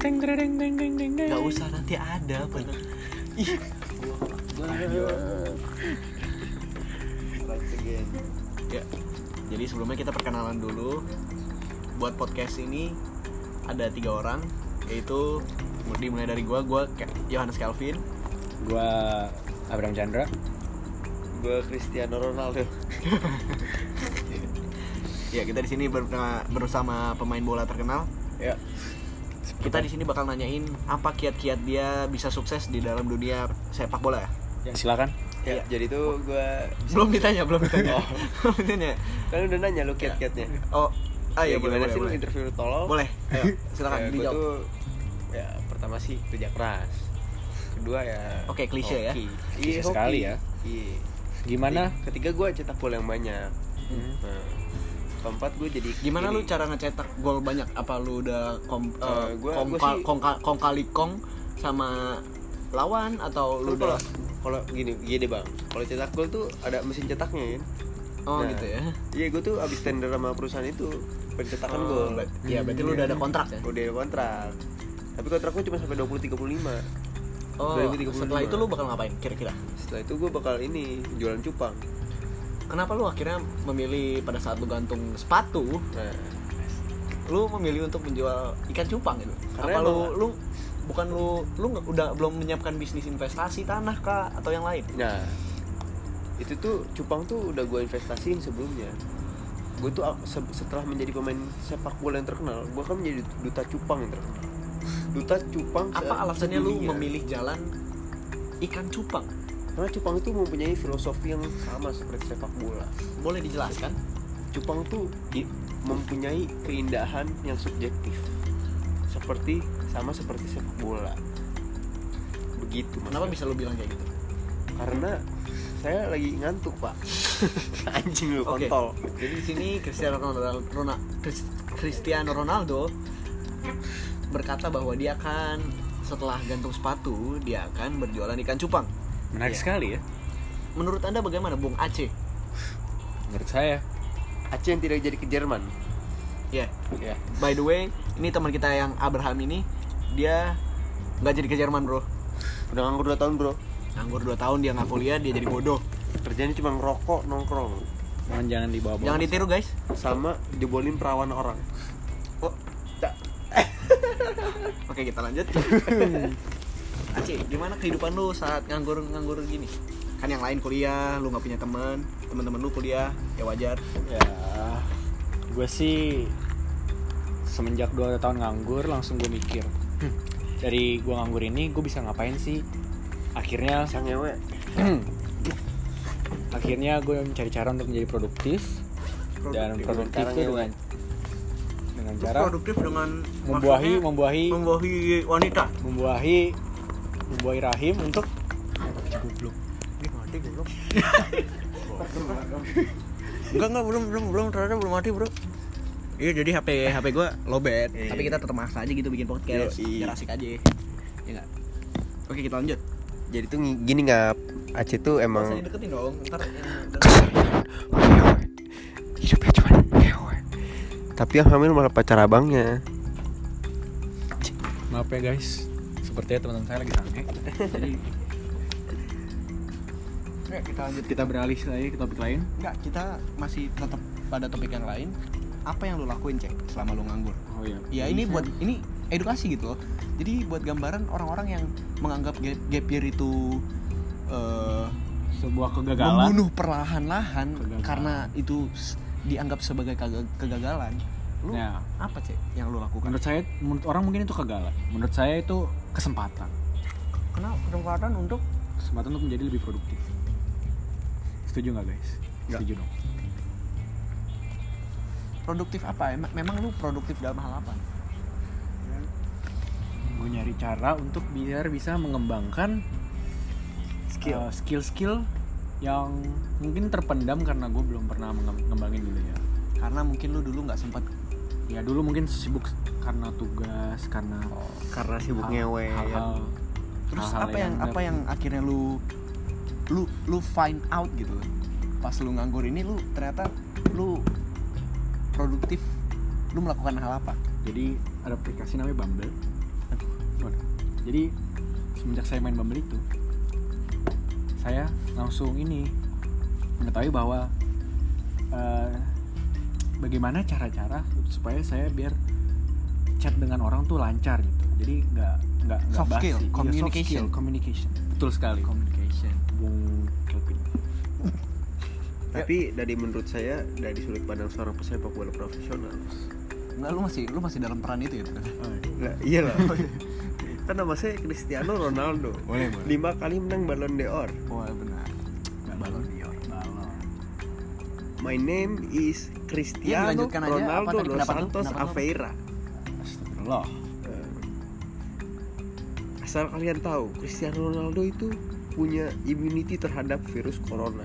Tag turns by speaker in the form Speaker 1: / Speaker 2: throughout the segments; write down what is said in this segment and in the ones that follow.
Speaker 1: Deng deng deng deng deng deng.
Speaker 2: nggak usah nanti ada bener Ih,
Speaker 3: Once again.
Speaker 2: ya jadi sebelumnya kita perkenalan dulu buat podcast ini ada tiga orang yaitu dimulai dari gua gua Ke- Yohanes Calvin
Speaker 1: Gua Abraham Chandra.
Speaker 3: Gue Cristiano Ronaldo.
Speaker 2: ya kita di sini ber- bersama pemain bola terkenal
Speaker 1: Ya.
Speaker 2: kita di sini bakal nanyain apa kiat-kiat dia bisa sukses di dalam dunia sepak bola ya
Speaker 1: Silakan.
Speaker 3: Ya,
Speaker 2: Iya.
Speaker 3: jadi tuh gue
Speaker 2: belum ditanya belum ditanya belum ditanya
Speaker 3: kan udah nanya lu kiat-kiatnya.
Speaker 2: oh ah
Speaker 3: Ya,
Speaker 2: ya, boleh
Speaker 3: gimana sih lu
Speaker 2: boleh boleh,
Speaker 3: interview tolol?
Speaker 2: boleh ayo silakan
Speaker 3: Ya, gue
Speaker 2: dijawab
Speaker 3: tuh ya pertama sih kerja keras. Kedua ya
Speaker 2: Oke, klise ya.
Speaker 3: hoki.
Speaker 1: Klise
Speaker 3: Iya, hoki.
Speaker 1: sekali ya.
Speaker 3: Iya.
Speaker 1: Gimana?
Speaker 3: Ketiga- Ketiga gue cetak gol yang banyak. Nah, keempat gue jadi
Speaker 2: Hmm. Gimana
Speaker 3: ini.
Speaker 2: lu cara ngecetak gol banyak? Apa lu udah kom, eh,
Speaker 3: Eh, gua-
Speaker 2: kongka-
Speaker 3: gua sih-
Speaker 2: kongka- kongkali kong sama lawan atau lu
Speaker 3: lu kalau
Speaker 2: udah
Speaker 3: kalau gini gini bang kalau cetak gol tuh ada mesin cetaknya kan
Speaker 2: Oh
Speaker 3: Nah,
Speaker 2: gitu ya.
Speaker 3: iya gue tuh abis tender sama perusahaan itu pencetakan
Speaker 2: Oh,
Speaker 3: gol
Speaker 2: ber- Iya, berarti lu udah ada kontrak ya.
Speaker 3: udah ada kontrak tapi kontrak gue cuma sampai 20 35
Speaker 2: Oh,
Speaker 3: 2035.
Speaker 2: setelah itu lu bakal ngapain kira-kira?
Speaker 3: setelah itu gue bakal ini jualan cupang
Speaker 2: Kenapa lu akhirnya memilih pada saat lu gantung sepatu,
Speaker 3: nah
Speaker 2: lu memilih untuk menjual ikan cupang gitu?
Speaker 3: Karena
Speaker 2: Apa lu
Speaker 3: emang-
Speaker 2: lu bukan lu lu nggak- udah belum menyiapkan bisnis investasi tanah kah atau yang lain?
Speaker 3: nah itu tuh cupang tuh udah gue investasiin sebelumnya gue tuh a- se- setelah menjadi pemain sepak bola yang terkenal gue kan menjadi duta cupang yang terkenal duta cupang se-
Speaker 2: Apa alasannya lu
Speaker 3: dunia.
Speaker 2: memilih jalan ikan cupang?
Speaker 3: Karena Cupang itu mempunyai filosofi yang sama seperti sepak bola.
Speaker 2: Boleh dijelaskan?
Speaker 3: Cupang tuh i- mempunyai keindahan yang subjektif, seperti sama seperti sepak bola. Begitu. Mas.
Speaker 2: Kenapa bisa lu bilang kayak gitu?
Speaker 3: Karena saya lagi ngantuk pak. Anjing lu
Speaker 2: Oke.
Speaker 3: kontol.
Speaker 2: Jadi di sini Cristiano Ronaldo, Rona- Chris- Cristiano Ronaldo berkata bahwa dia akan setelah gantung sepatu dia akan berjualan ikan cupang.
Speaker 1: Menarik
Speaker 3: Iya.
Speaker 1: sekali ya.
Speaker 2: Menurut anda bagaimana, Bung Aceh?
Speaker 1: Menurut saya.
Speaker 3: Aceh yang tidak jadi ke Jerman.
Speaker 2: Ya,
Speaker 3: Ya.
Speaker 2: by the way, ini teman kita yang Abraham ini dia nggak jadi ke Jerman bro.
Speaker 3: Udah nganggur 2 tahun bro.
Speaker 2: Nganggur 2 tahun dia nggak kuliah dia jadi bodoh.
Speaker 3: Kerjanya cuma ngerokok, nongkrong,
Speaker 1: Mohon jangan dibawa-bawa.
Speaker 2: Jangan ditiru guys.
Speaker 3: sama dibolin perawan orang.
Speaker 2: Oh,
Speaker 3: Tak.
Speaker 2: Oke kita lanjut. Aceh, gimana kehidupan lu saat nganggur-nganggur gini? Kan yang lain kuliah, lu nggak punya teman, teman-teman lu kuliah, ya wajar.
Speaker 1: Ya. Gue sih semenjak 2 tahun nganggur langsung gue mikir. "Hmm, dari gue nganggur ini gue bisa ngapain sih? Akhirnya
Speaker 3: Sang ngewe.
Speaker 1: akhirnya gue mencari cara untuk menjadi produktif, dan
Speaker 2: Produktif.
Speaker 1: produktif
Speaker 3: Sekarang
Speaker 1: itu
Speaker 3: ya,
Speaker 1: dengan dengan
Speaker 2: Lu
Speaker 1: cara
Speaker 2: produktif dengan
Speaker 1: membuahi
Speaker 2: maksudnya
Speaker 1: membuahi
Speaker 2: membuahi wanita.
Speaker 1: membuahi membuahi rahim untuk goblok
Speaker 2: Enggak enggak belum belum belum ternyata belum mati bro. Iya jadi HP HP gue lobet, tapi kita tetap maksa aja gitu bikin podcast,
Speaker 3: Yoi.
Speaker 2: biar asik aja. Ya enggak. Oke kita lanjut.
Speaker 3: Jadi tuh ngi- gini ngap. Aceh tuh emang.
Speaker 2: Masa dideketin dong, ntar ya.
Speaker 3: hidupnya cuma cewek tapi yang hamil malah pacar abangnya
Speaker 1: maaf ya guys sepertinya teman-teman saya lagi sange
Speaker 2: Ya, kita lanjut kita beralih lagi ke topik lain enggak kita masih tetap pada topik yang lain apa yang lu lakuin cek selama lu nganggur
Speaker 1: oh iya
Speaker 2: ya ini buat ini edukasi gitu loh jadi buat gambaran orang-orang yang menganggap gap, gap year itu eh,
Speaker 1: sebuah kegagalan
Speaker 2: membunuh perlahan-lahan
Speaker 1: Kegagalan.
Speaker 2: karena itu s- dianggap sebagai kega- kegagalan lu
Speaker 1: Nah,
Speaker 2: apa cek yang lu lakukan
Speaker 1: menurut saya menurut orang mungkin itu kegagalan menurut saya itu kesempatan
Speaker 2: kenapa kesempatan untuk
Speaker 1: kesempatan untuk menjadi lebih produktif setuju nggak guys
Speaker 2: Nggak.
Speaker 1: setuju dong
Speaker 2: produktif apa Em- memang lu produktif dalam hal apa
Speaker 1: gue nyari cara untuk biar bisa mengembangkan
Speaker 2: Skill.
Speaker 1: skill skill skill yang mungkin terpendam karena gue belum pernah mengem- ngembangin dulu ya
Speaker 2: karena mungkin lu dulu nggak sempat
Speaker 1: ya dulu mungkin sibuk karena tugas karena
Speaker 3: karena sibuk
Speaker 1: hal-
Speaker 3: ngewe ya.
Speaker 1: hal-hal
Speaker 2: terus
Speaker 1: hal-hal
Speaker 2: apa yang apa yang akhirnya lu lu lu find out gitu loh. pas lu nganggur ini lu ternyata lu produktif lu melakukan hal apa
Speaker 1: jadi ada aplikasi namanya Bumble
Speaker 2: oke
Speaker 1: Bener. Jadi semenjak saya main Bumble itu, saya langsung ini mengetahui bahwa eh, bagaimana cara-cara supaya saya biar chat dengan orang tuh lancar gitu. Jadi nggak nggak nggak
Speaker 2: Soft
Speaker 1: basi.
Speaker 2: skill,
Speaker 1: Iya, soft
Speaker 2: communication.
Speaker 1: skill, communication. Betul sekali.
Speaker 2: communication
Speaker 1: Bung Kelvin.
Speaker 3: Tapi dari menurut saya dari sudut pandang seorang pesepak bola profesional.
Speaker 2: Enggak, lu masih lu masih dalam peran itu ya ternyata.
Speaker 3: Lah,
Speaker 2: iya
Speaker 3: iyalah. kan nama saya Cristiano Ronaldo.
Speaker 2: Boleh, boleh.
Speaker 3: Lima kali menang Ballon d'Or.
Speaker 2: Wah benar
Speaker 1: Nggak
Speaker 2: balon
Speaker 1: balon.
Speaker 2: dior
Speaker 3: My name is
Speaker 2: Ya,
Speaker 3: Cristiano
Speaker 2: dilanjutkan aja. Apa
Speaker 3: Ronaldo
Speaker 2: tadi?
Speaker 3: dos
Speaker 2: Kenapa-
Speaker 3: Santos
Speaker 2: kenapa-
Speaker 3: Aveira.
Speaker 1: Astagfirullah.
Speaker 3: Eh, Asal kalian tahu, Cristiano Ronaldo itu punya immunity terhadap virus corona.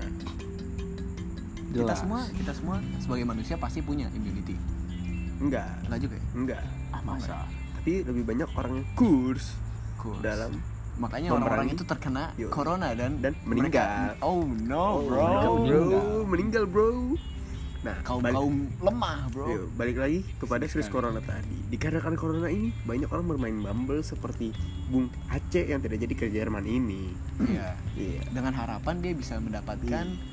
Speaker 2: kita
Speaker 1: Jelas.
Speaker 2: semua kita semua sebagai manusia pasti punya immunity
Speaker 3: Enggak,
Speaker 2: enggak juga ya
Speaker 3: enggak.
Speaker 2: ah masa
Speaker 3: Tapi lebih banyak orang yang kurs
Speaker 2: Kurs.
Speaker 3: dalam
Speaker 2: makanya
Speaker 3: Memerangi.
Speaker 2: orang-orang itu terkena
Speaker 3: Yo.
Speaker 2: corona dan
Speaker 3: Dan
Speaker 2: mereka-
Speaker 3: meninggal.
Speaker 2: oh no bro
Speaker 3: mereka meninggal.
Speaker 1: meninggal.
Speaker 3: meninggal, bro. Nah,
Speaker 2: kaum
Speaker 3: balik-
Speaker 2: kaum lemah bro
Speaker 3: Yo, balik lagi kepada virus corona tadi. Dikarenakan corona ini banyak orang bermain Bumble seperti Bung Aceh yang tidak jadi ke Jerman ini.
Speaker 2: Iya.
Speaker 3: Iya.
Speaker 2: dengan harapan dia bisa mendapatkan
Speaker 1: Iya.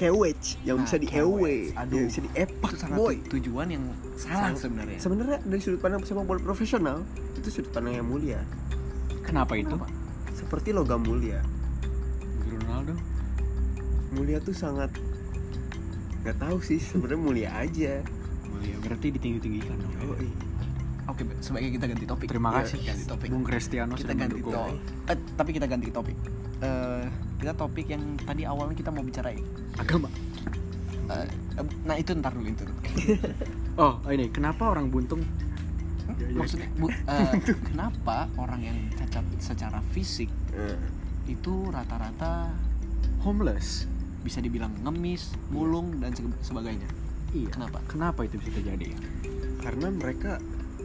Speaker 3: Kewech yang
Speaker 2: Nah,
Speaker 3: bisa di
Speaker 2: kewech.
Speaker 3: ewe,
Speaker 2: Aduh.
Speaker 3: yang bisa di epak
Speaker 2: itu sangat
Speaker 3: boy.
Speaker 2: tu- tujuan yang salah sebenarnya
Speaker 3: Sebenarnya dari sudut pandang sepak bola profesional itu sudut pandang yang mulia,
Speaker 1: Kenapa itu?
Speaker 2: Kenapa?
Speaker 3: seperti logam mulia.
Speaker 1: Ronaldo.
Speaker 3: Mulia tuh sangat nggak tahu sih sebenarnya mulia aja.
Speaker 1: Mulia Iya, berarti ditinggi-tinggikan dong. ya.
Speaker 3: Yoi.
Speaker 2: oke sebaiknya kita ganti topik
Speaker 1: Terima
Speaker 2: Iya,
Speaker 1: kasih
Speaker 2: ganti topik
Speaker 1: Bung Cristiano
Speaker 2: kita
Speaker 1: sudah
Speaker 2: ganti
Speaker 1: mendukung.
Speaker 2: topik eh, tapi kita ganti topik Eh, kita topik yang tadi awalnya kita mau bicarain
Speaker 1: Agama. Iya.
Speaker 2: Eh, eh, nah itu ntar dulu itu
Speaker 1: Oh, ini kenapa orang buntung? iya.
Speaker 2: maksudnya bu- eh, kenapa orang yang cacat secara fisik
Speaker 3: Eh,
Speaker 2: itu rata-rata
Speaker 1: homeless.
Speaker 2: bisa dibilang ngemis, mulung dan sege- sebagainya.
Speaker 1: Iya.
Speaker 2: Kenapa?
Speaker 1: Kenapa itu bisa terjadi?
Speaker 3: karena mereka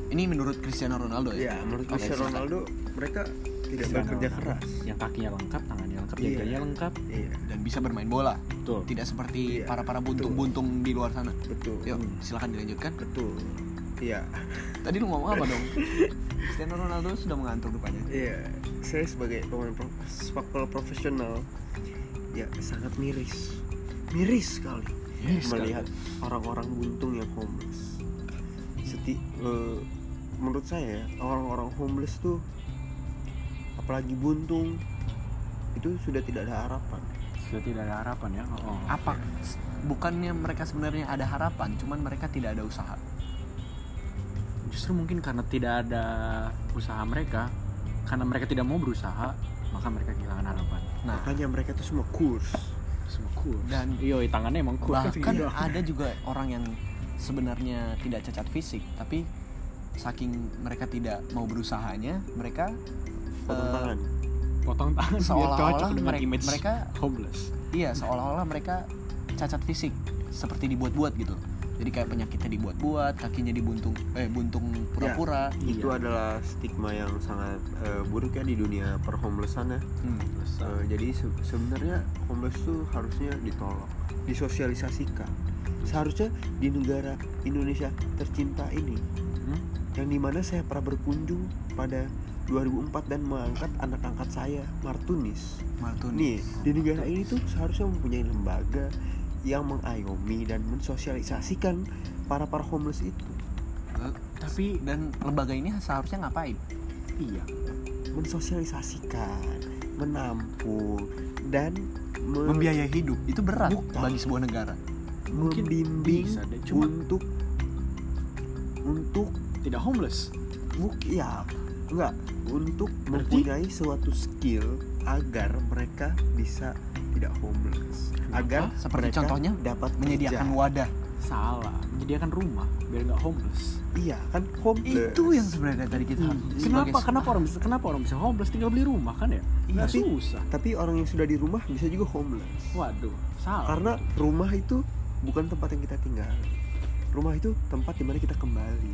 Speaker 2: Ini menurut Cristiano Ronaldo ya?
Speaker 1: Iya.
Speaker 3: ya menurut
Speaker 2: Oke,
Speaker 3: Cristiano
Speaker 2: silakan.
Speaker 3: Ronaldo mereka tidak
Speaker 1: Cristiano
Speaker 3: bekerja
Speaker 1: Ronaldo.
Speaker 3: keras.
Speaker 1: Yang kakinya lengkap, tangannya lengkap,
Speaker 3: Iya.
Speaker 1: jaganya lengkap.
Speaker 3: Iya.
Speaker 2: Dan bisa bermain bola,
Speaker 1: Betul.
Speaker 2: tidak seperti
Speaker 3: Iya,
Speaker 2: para-para buntung-buntung di luar sana.
Speaker 3: Betul.
Speaker 2: Yuk, silakan dilanjutkan.
Speaker 3: Betul. Iya.
Speaker 2: Tadi lu ngomong apa dong? Cristiano Ronaldo sudah mengantuk rupanya.
Speaker 3: Iya. Saya sebagai pemain pro- sepak bola profesional ya sangat miris. Miris sekali
Speaker 1: kan?
Speaker 3: melihat orang-orang buntung yang homeless. Seti eh, menurut saya ya, orang-orang homeless tuh apalagi buntung itu sudah tidak ada harapan.
Speaker 1: Sudah tidak ada harapan ya. Oh.
Speaker 2: Apa? Bukannya mereka sebenarnya ada harapan, cuman mereka tidak ada usaha.
Speaker 1: Justru mungkin karena tidak ada usaha mereka, karena mereka tidak mau berusaha, maka mereka kehilangan harapan.
Speaker 2: Nah,
Speaker 3: Makanya mereka tuh semua kurs.
Speaker 1: Semua kurs.
Speaker 2: Dan-
Speaker 1: iya, iya, tangannya emang kurs.
Speaker 2: bahkan
Speaker 1: Iya.
Speaker 2: ada juga orang yang sebenarnya tidak cacat fisik tapi saking mereka tidak mau berusahanya mereka
Speaker 3: Potong
Speaker 2: eh,
Speaker 3: tangan.
Speaker 1: potong tangan biar cocok
Speaker 2: seolah-olah
Speaker 1: dengan
Speaker 2: mereka,
Speaker 1: image
Speaker 2: mereka
Speaker 1: homeless.
Speaker 2: iya seolah-olah mereka cacat fisik seperti dibuat-buat gitu jadi kayak penyakitnya dibuat-buat kakinya dibuntung eh buntung pura-pura
Speaker 3: Itu adalah stigma yang sangat eh, buruk ya di dunia perhomelessan ya.
Speaker 2: Hmm.
Speaker 3: Eh, jadi se- sebenarnya homeless tuh harusnya ditolong, disosialisasikan. Seharusnya di negara Indonesia tercinta ini,
Speaker 1: Hmm?
Speaker 3: yang dimana saya pernah berkunjung pada 2004 dan mengangkat anak angkat saya, Martunis.
Speaker 2: Iya.
Speaker 3: Nih,
Speaker 2: Martunis
Speaker 3: di negara ini tuh seharusnya mempunyai lembaga yang mengayomi dan mensosialisasikan para para homeless itu,
Speaker 1: Tapi
Speaker 2: dan lembaga ini seharusnya ngapain
Speaker 1: iya,
Speaker 3: mensosialisasikan, menampung dan men-
Speaker 2: membiayai hidup itu berat
Speaker 3: Bukan.
Speaker 2: bagi sebuah negara
Speaker 1: Mungkin
Speaker 3: membimbing
Speaker 1: bisa deh, cuma-
Speaker 3: untuk untuk
Speaker 1: tidak homeless.
Speaker 3: buk ya enggak untuk
Speaker 1: Berarti-
Speaker 3: mempunyai suatu skill agar mereka bisa tidak homeless agar
Speaker 2: Seperti
Speaker 3: Ya, mereka
Speaker 2: contohnya,
Speaker 3: dapat
Speaker 2: menyediakan
Speaker 3: kerja.
Speaker 2: wadah
Speaker 1: Salah, menyediakan rumah biar nggak homeless.
Speaker 3: iya kan homeless
Speaker 2: itu yang sebenarnya tadi kita sebagai
Speaker 1: Hmm. Kenapa? Kenapa orang bisa? Kenapa orang bisa homeless tinggal beli rumah kan ya? Nggak
Speaker 3: Tapi-
Speaker 1: susah.
Speaker 3: Iya tapi orang yang sudah di rumah bisa juga homeless
Speaker 1: Waduh, salah.
Speaker 2: Ah.
Speaker 3: karena rumah itu bukan tempat yang kita tinggal rumah itu tempat di mana kita kembali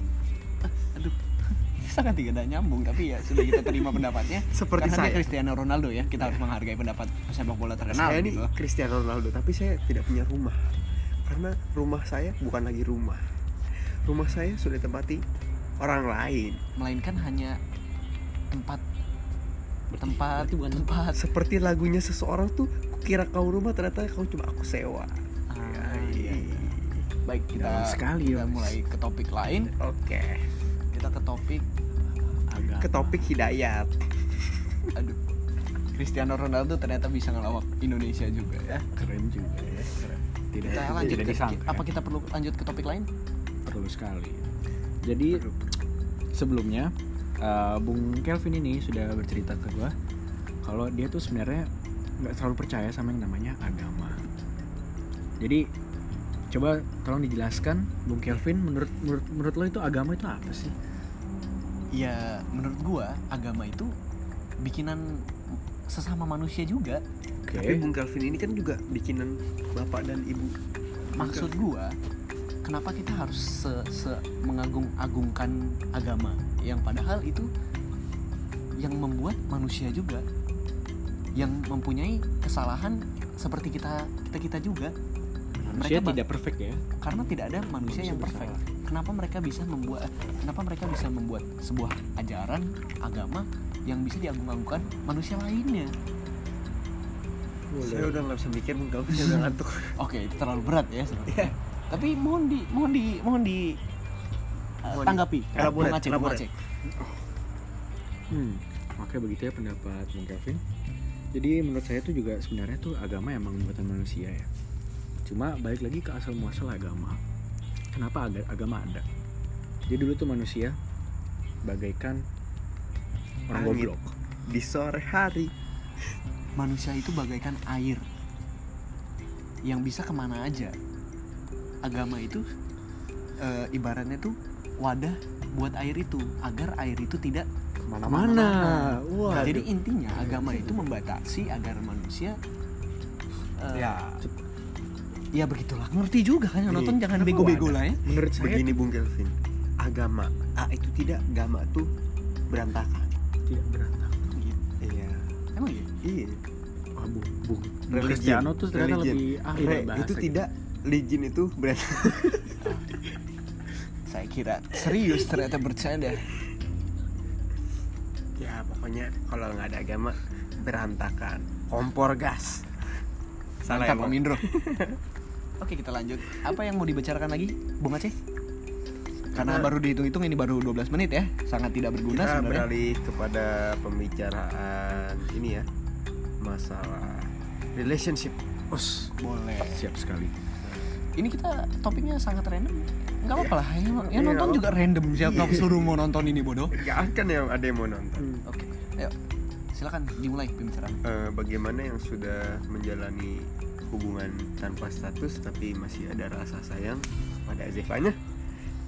Speaker 2: aduh sangat tidak nyambung tapi ya sudah kita terima pendapatnya
Speaker 3: Seperti
Speaker 2: karena dia
Speaker 3: saya.
Speaker 2: Cristiano Ronaldo ya kita harus menghargai pendapat sepak bola terkenal
Speaker 3: saya ini
Speaker 2: gitu
Speaker 3: Cristiano Ronaldo tapi saya tidak punya rumah karena rumah saya bukan lagi rumah rumah saya sudah ditempati orang lain
Speaker 2: melainkan hanya tempat tempat
Speaker 1: berarti bukan-
Speaker 2: tempat
Speaker 3: seperti lagunya seseorang tuh kukira kau rumah ternyata kau cuma aku sewa
Speaker 2: Ah,
Speaker 3: iya.
Speaker 2: baik kita
Speaker 1: Dalam sekali,
Speaker 2: kita
Speaker 1: Mas.
Speaker 2: mulai ke topik lain
Speaker 3: oke
Speaker 2: kita ke topik agak
Speaker 3: ke topik hidayat
Speaker 2: aduh Cristiano Ronaldo ternyata bisa ngelawak Indonesia juga ya
Speaker 1: keren juga ya keren. tidak
Speaker 2: kita
Speaker 1: tidak
Speaker 2: lanjut ke,
Speaker 1: disangka ya.
Speaker 2: apa kita perlu lanjut ke topik lain
Speaker 1: perlu sekali jadi sebelumnya eh, Bung Kelvin ini sudah bercerita ke gua kalau dia tuh sebenarnya nggak terlalu percaya sama yang namanya agama jadi coba tolong dijelaskan Bung Kelvin menurut menurut menurut lo itu agama itu apa sih
Speaker 2: ya menurut gua agama itu bikinan sesama manusia juga
Speaker 1: oke
Speaker 3: tapi Bung Calvin ini kan juga bikinan bapak dan ibu
Speaker 2: maksud gua kenapa kita harus se, se- mengagung-agungkan agama yang padahal itu yang membuat manusia juga yang mempunyai kesalahan seperti kita kita kita juga
Speaker 1: manusia
Speaker 2: mereka bak-
Speaker 1: tidak perfect ya
Speaker 2: karena tidak ada manusia yang perfect kenapa mereka bisa membuat kenapa mereka bisa membuat sebuah ajaran agama yang bisa diagung-agungkan manusia lainnya
Speaker 3: saya udah nggak bisa mikir Bung Calvin saya udah ngantuk
Speaker 2: oke itu terlalu berat ya
Speaker 3: Iya.
Speaker 2: sebenarnya. tapi mohon di mohon di mohon di uh,
Speaker 3: Mohon di-
Speaker 2: tanggapi
Speaker 3: elaborate,
Speaker 2: Bung Aceh, Bung
Speaker 3: elaborate.
Speaker 2: Aceh.
Speaker 1: Hmm, makanya begitu ya pendapat Bung Kevin. Jadi menurut saya tuh juga sebenarnya tuh agama emang buatan manusia ya. Cuma balik lagi ke asal muasal agama. Kenapa aga- agama ada? Jadi dulu tuh manusia bagaikan orang
Speaker 3: Langit.
Speaker 1: goblok.
Speaker 3: di sore hari
Speaker 2: manusia itu bagaikan air yang bisa kemana aja agama itu eh, ibaratnya tuh wadah buat air itu agar air itu tidak
Speaker 1: Kemana-mana. Wah.
Speaker 2: Nah, jadi intinya agama itu membatasi agar manusia eh,
Speaker 3: ya
Speaker 2: ya begitulah ngerti juga kan yang
Speaker 3: Nih,
Speaker 2: nonton jangan
Speaker 3: kenapa
Speaker 2: bego-bego
Speaker 3: wadah?
Speaker 2: lah ya
Speaker 1: Menurut saya
Speaker 3: begini Bung Calvin agama A itu tidak agama tuh berantakan
Speaker 1: tidak berantakan.
Speaker 3: iya
Speaker 2: emang ya
Speaker 3: iya
Speaker 1: Wah, Bung, Bung, Bung
Speaker 3: Religion.
Speaker 1: Cristiano tuh ternyata
Speaker 3: Religion.
Speaker 1: lebih ah, ahli
Speaker 3: Re,
Speaker 1: dalam bahasa. gitu.
Speaker 3: itu tidak legend itu berantakan
Speaker 2: saya kira serius ternyata bercanda
Speaker 3: ya pokoknya kalau nggak ada agama berantakan kompor gas salah ya
Speaker 2: Mantap, Om
Speaker 3: Bang?
Speaker 2: Indro. Oke, kita lanjut. Apa yang mau dibicarakan lagi, Bung Aceh? Karena
Speaker 3: Kita-
Speaker 2: baru dihitung-hitung ini baru 12 menit ya. Sangat tidak berguna
Speaker 3: kita
Speaker 2: sebenarnya.
Speaker 3: beralih kepada pembicaraan ini ya masalah relationship
Speaker 1: Os,
Speaker 2: Boleh.
Speaker 1: siap sekali.
Speaker 2: Ini kita topiknya sangat random. Enggak apa-apa lah. Yang, yang
Speaker 3: Iya,
Speaker 2: nonton
Speaker 3: nggak
Speaker 2: juga random. Siapa suruh mau nonton ini bodoh?
Speaker 3: gak akan yang ada yang mau nonton
Speaker 1: Hmm.
Speaker 2: Oke. Ayo. Silakan dimulai pembicaraan.
Speaker 3: Eh, bagaimana yang sudah menjalani hubungan tanpa status tapi masih ada rasa sayang pada Zevanya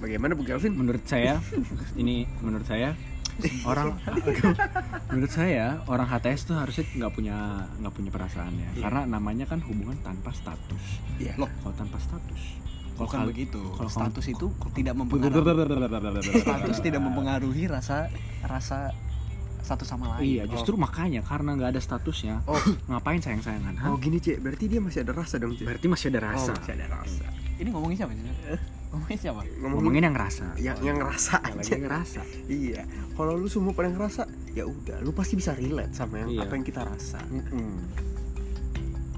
Speaker 3: bagaimana Bu Galvin
Speaker 1: menurut saya ini menurut saya orang menurut saya orang HTS tuh harusnya nggak punya nggak punya perasaan ya
Speaker 3: Iya.
Speaker 1: karena namanya kan hubungan tanpa status
Speaker 3: Iya.
Speaker 1: loh kalau tanpa status kalau
Speaker 2: Bukan
Speaker 1: kal-
Speaker 2: kan begitu.
Speaker 1: kalau kamu-
Speaker 2: Status itu tidak mempengaruhi status
Speaker 1: status
Speaker 2: tidak mempengaruhi rasa rasa satu sama lain.
Speaker 1: iya justru makanya karena nggak ada statusnya
Speaker 3: Oh.
Speaker 1: ngapain sayang sayangan
Speaker 3: oh gini cek berarti dia masih ada rasa dong cek
Speaker 1: berarti masih ada rasa
Speaker 3: oh, masih ada rasa
Speaker 2: Ini ngomongin siapa sih? Ngomongin siapa?
Speaker 3: ngomongin
Speaker 1: ngomongin yang rasa
Speaker 2: Ya,
Speaker 3: yang yang rasa
Speaker 1: yang lagi
Speaker 3: aja
Speaker 1: ngerasa
Speaker 3: iya kalau lu semua pada ngerasa ya udah lu pasti bisa relate sama yang
Speaker 1: Iya.
Speaker 3: apa yang kita rasa
Speaker 1: Mm-mm.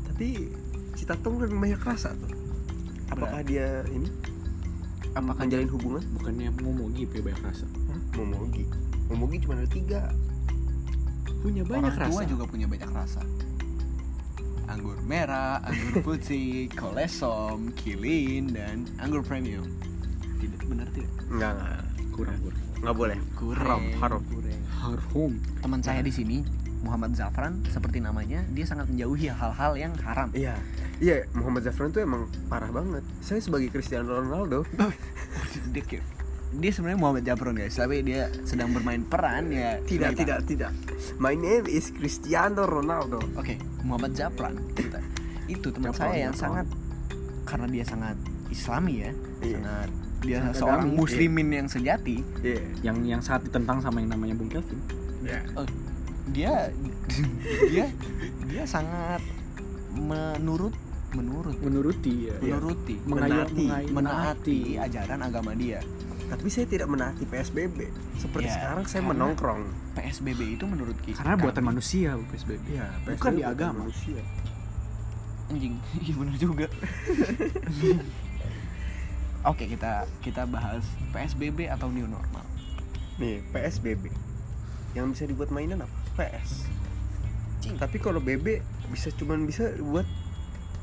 Speaker 3: tapi cita Tung kan banyak rasa tuh apakah dia ini
Speaker 2: Apakah
Speaker 3: menjalin hubungan
Speaker 1: bukannya ngomongi punya gitu ya, banyak rasa
Speaker 3: momogi momogi cuma ada tiga
Speaker 1: punya banyak
Speaker 2: orang tua
Speaker 1: rasa
Speaker 2: juga punya banyak rasa anggur merah anggur putih kolesom kilin dan anggur premium tidak benar tidak
Speaker 3: enggak enggak
Speaker 1: kurang kurang
Speaker 3: nggak boleh haram haram
Speaker 1: harum
Speaker 2: teman saya di sini Muhammad Zafran seperti namanya dia sangat menjauhi hal-hal yang haram
Speaker 3: Iya, iya Muhammad Zafran tuh emang parah banget. Saya sebagai Cristiano Ronaldo,
Speaker 2: dia, kayak- dia sebenarnya Muhammad Zafran guys tapi dia sedang bermain peran ya
Speaker 3: tidak
Speaker 2: sebagai-
Speaker 3: tidak tidak. My name is Cristiano Ronaldo.
Speaker 2: Oke, Muhammad Zafran kita. itu teman
Speaker 1: Zafran,
Speaker 2: saya yang
Speaker 1: Zafran.
Speaker 2: sangat karena dia sangat Islami ya,
Speaker 3: Iya.
Speaker 2: sangat dia
Speaker 1: Sangat
Speaker 2: seorang
Speaker 1: agamis,
Speaker 2: muslimin yang sejati.
Speaker 3: Iya,
Speaker 1: yang yang saat ditentang sama yang namanya Bung Kelvin
Speaker 3: iya.
Speaker 2: Dia dia dia sangat menurut menurut
Speaker 1: menuruti ya
Speaker 2: menuruti
Speaker 1: Mengayo-
Speaker 3: Menati.
Speaker 1: mengayo-
Speaker 2: menaati ajaran agama dia.
Speaker 3: tapi saya tidak menaati PSBB seperti
Speaker 2: Ya,
Speaker 3: sekarang saya
Speaker 2: karena-
Speaker 3: menongkrong
Speaker 2: PSBB itu menurut kita
Speaker 1: Karena buatan manusia PSBB.
Speaker 3: ya
Speaker 1: Bukan di agama.
Speaker 3: manusia.
Speaker 2: anjing iya bener juga oke kita kita bahas PSBB atau new normal
Speaker 3: nih PSBB yang bisa dibuat mainan apa PS tapi kalau BB bisa cuman bisa buat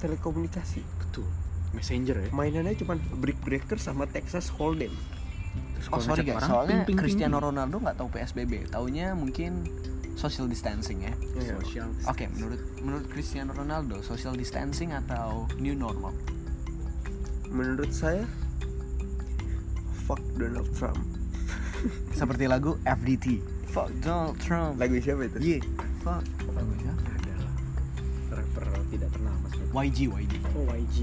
Speaker 3: telekomunikasi
Speaker 1: Betul. Messenger ya.
Speaker 3: mainannya cuman Brick Breaker sama Texas Hold'em
Speaker 1: Terus
Speaker 2: oh
Speaker 1: kalau
Speaker 2: sorry
Speaker 1: ngechat
Speaker 2: guys
Speaker 1: orang,
Speaker 2: soalnya
Speaker 1: ping, ping, ping.
Speaker 2: Cristiano Ronaldo nggak tahu PSBB taunya mungkin social distancing ya
Speaker 3: Iya.
Speaker 1: Social.
Speaker 2: oke menurut menurut Cristiano Ronaldo social distancing atau new normal
Speaker 3: menurut saya fuck Donald Trump
Speaker 2: seperti lagu FDT fuck Donald Trump
Speaker 3: lagu siapa itu
Speaker 1: Iya,
Speaker 2: yeah fuck lagunya
Speaker 1: Adalah rapper tidak ternama seperti
Speaker 2: YG YG
Speaker 1: Oh YG.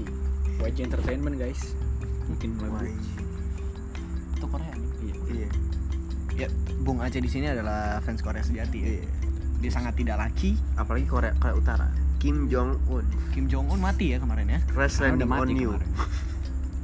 Speaker 1: YG Entertainment guys. Mungkin lagu.
Speaker 2: itu Korea nih.
Speaker 1: Iya.
Speaker 3: iya
Speaker 2: ya Bung Aceh di sini adalah fans Korea sejati ya.
Speaker 3: iya
Speaker 2: dia sangat tidak laki
Speaker 3: apalagi Korea Korea Utara Kim Jong Un
Speaker 2: Kim Jong Un mati ya kemarin ya
Speaker 3: crash
Speaker 1: Karena
Speaker 3: landing
Speaker 1: udah
Speaker 3: on
Speaker 1: mati
Speaker 3: you
Speaker 1: kemarin.